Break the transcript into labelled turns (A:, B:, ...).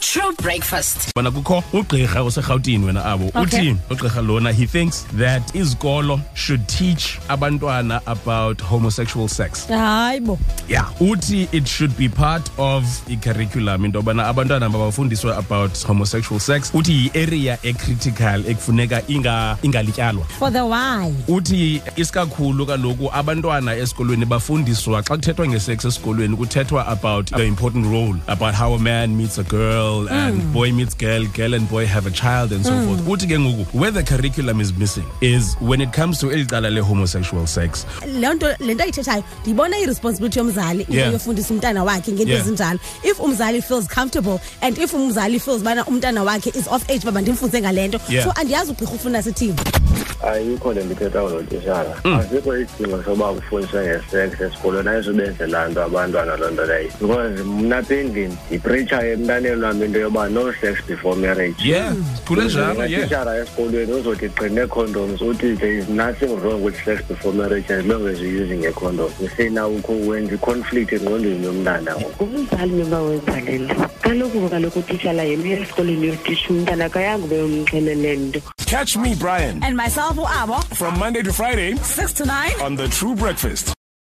A: true breakfast
B: bona kukho ugqirha oserhawutini wena abo
A: Okay.
B: uthi ugqirha lona he thinks that izikolo should teach abantwana about homosexual sex
C: hayi bo
B: yeah uthi it should be part of i-curriculum into yobana abantwana mabafundiswe about homosexual sex uthi yi-area ecritical ekufuneka inga- ingalityalwa
C: for the why
B: uthi isikakhulu kaloku abantwana esikolweni bafundiswa xa kuthethwa ngesex esikolweni kuthethwa about the important role about how a man meets a girl and boy meets girl girl and boy have a child and so forth uthi ke ngoku where the curriculum is missing is when it comes to eli cala le-homosexual sex
C: le nto le nto ayithethayo ndiyibona iresponsibility yomzali into
B: Yeah.
C: yofundisa umntana wakhe ngento
B: Yeah.
C: ezinjalo if umzali feels comfortable and if umzali feels ubana umntana wakhe is off age baba ndimfunze ngale nto
B: Yeah.
C: so andiyazi ugqirha ufuna sithini
D: ayikho le ndithetha ngolotishana asikho isidingo soba kufundiswe ngesex esikolweni ayizubenzela nto abantwana loo nto leyo because mna apha endlini ndipritsha emntaneni wam into yoba no sex before marriage
B: yeah khule njalo yeah
D: tishara esikolweni uzothi gqine condoms uthi there is nothing wrong with sex before marriage as long as you're using a condom usena ukho wenza i-conflict engqondweni yomntana
E: ngumzali noba wenza le nto kaloku ngoba kaloku utitshala yena uya esikolweni yotisha umntana kayange ubeyomxelele nto
F: Catch me, Brian,
A: and myself uabo
F: from Monday to Friday
A: 6 to 9
F: on The True Breakfast.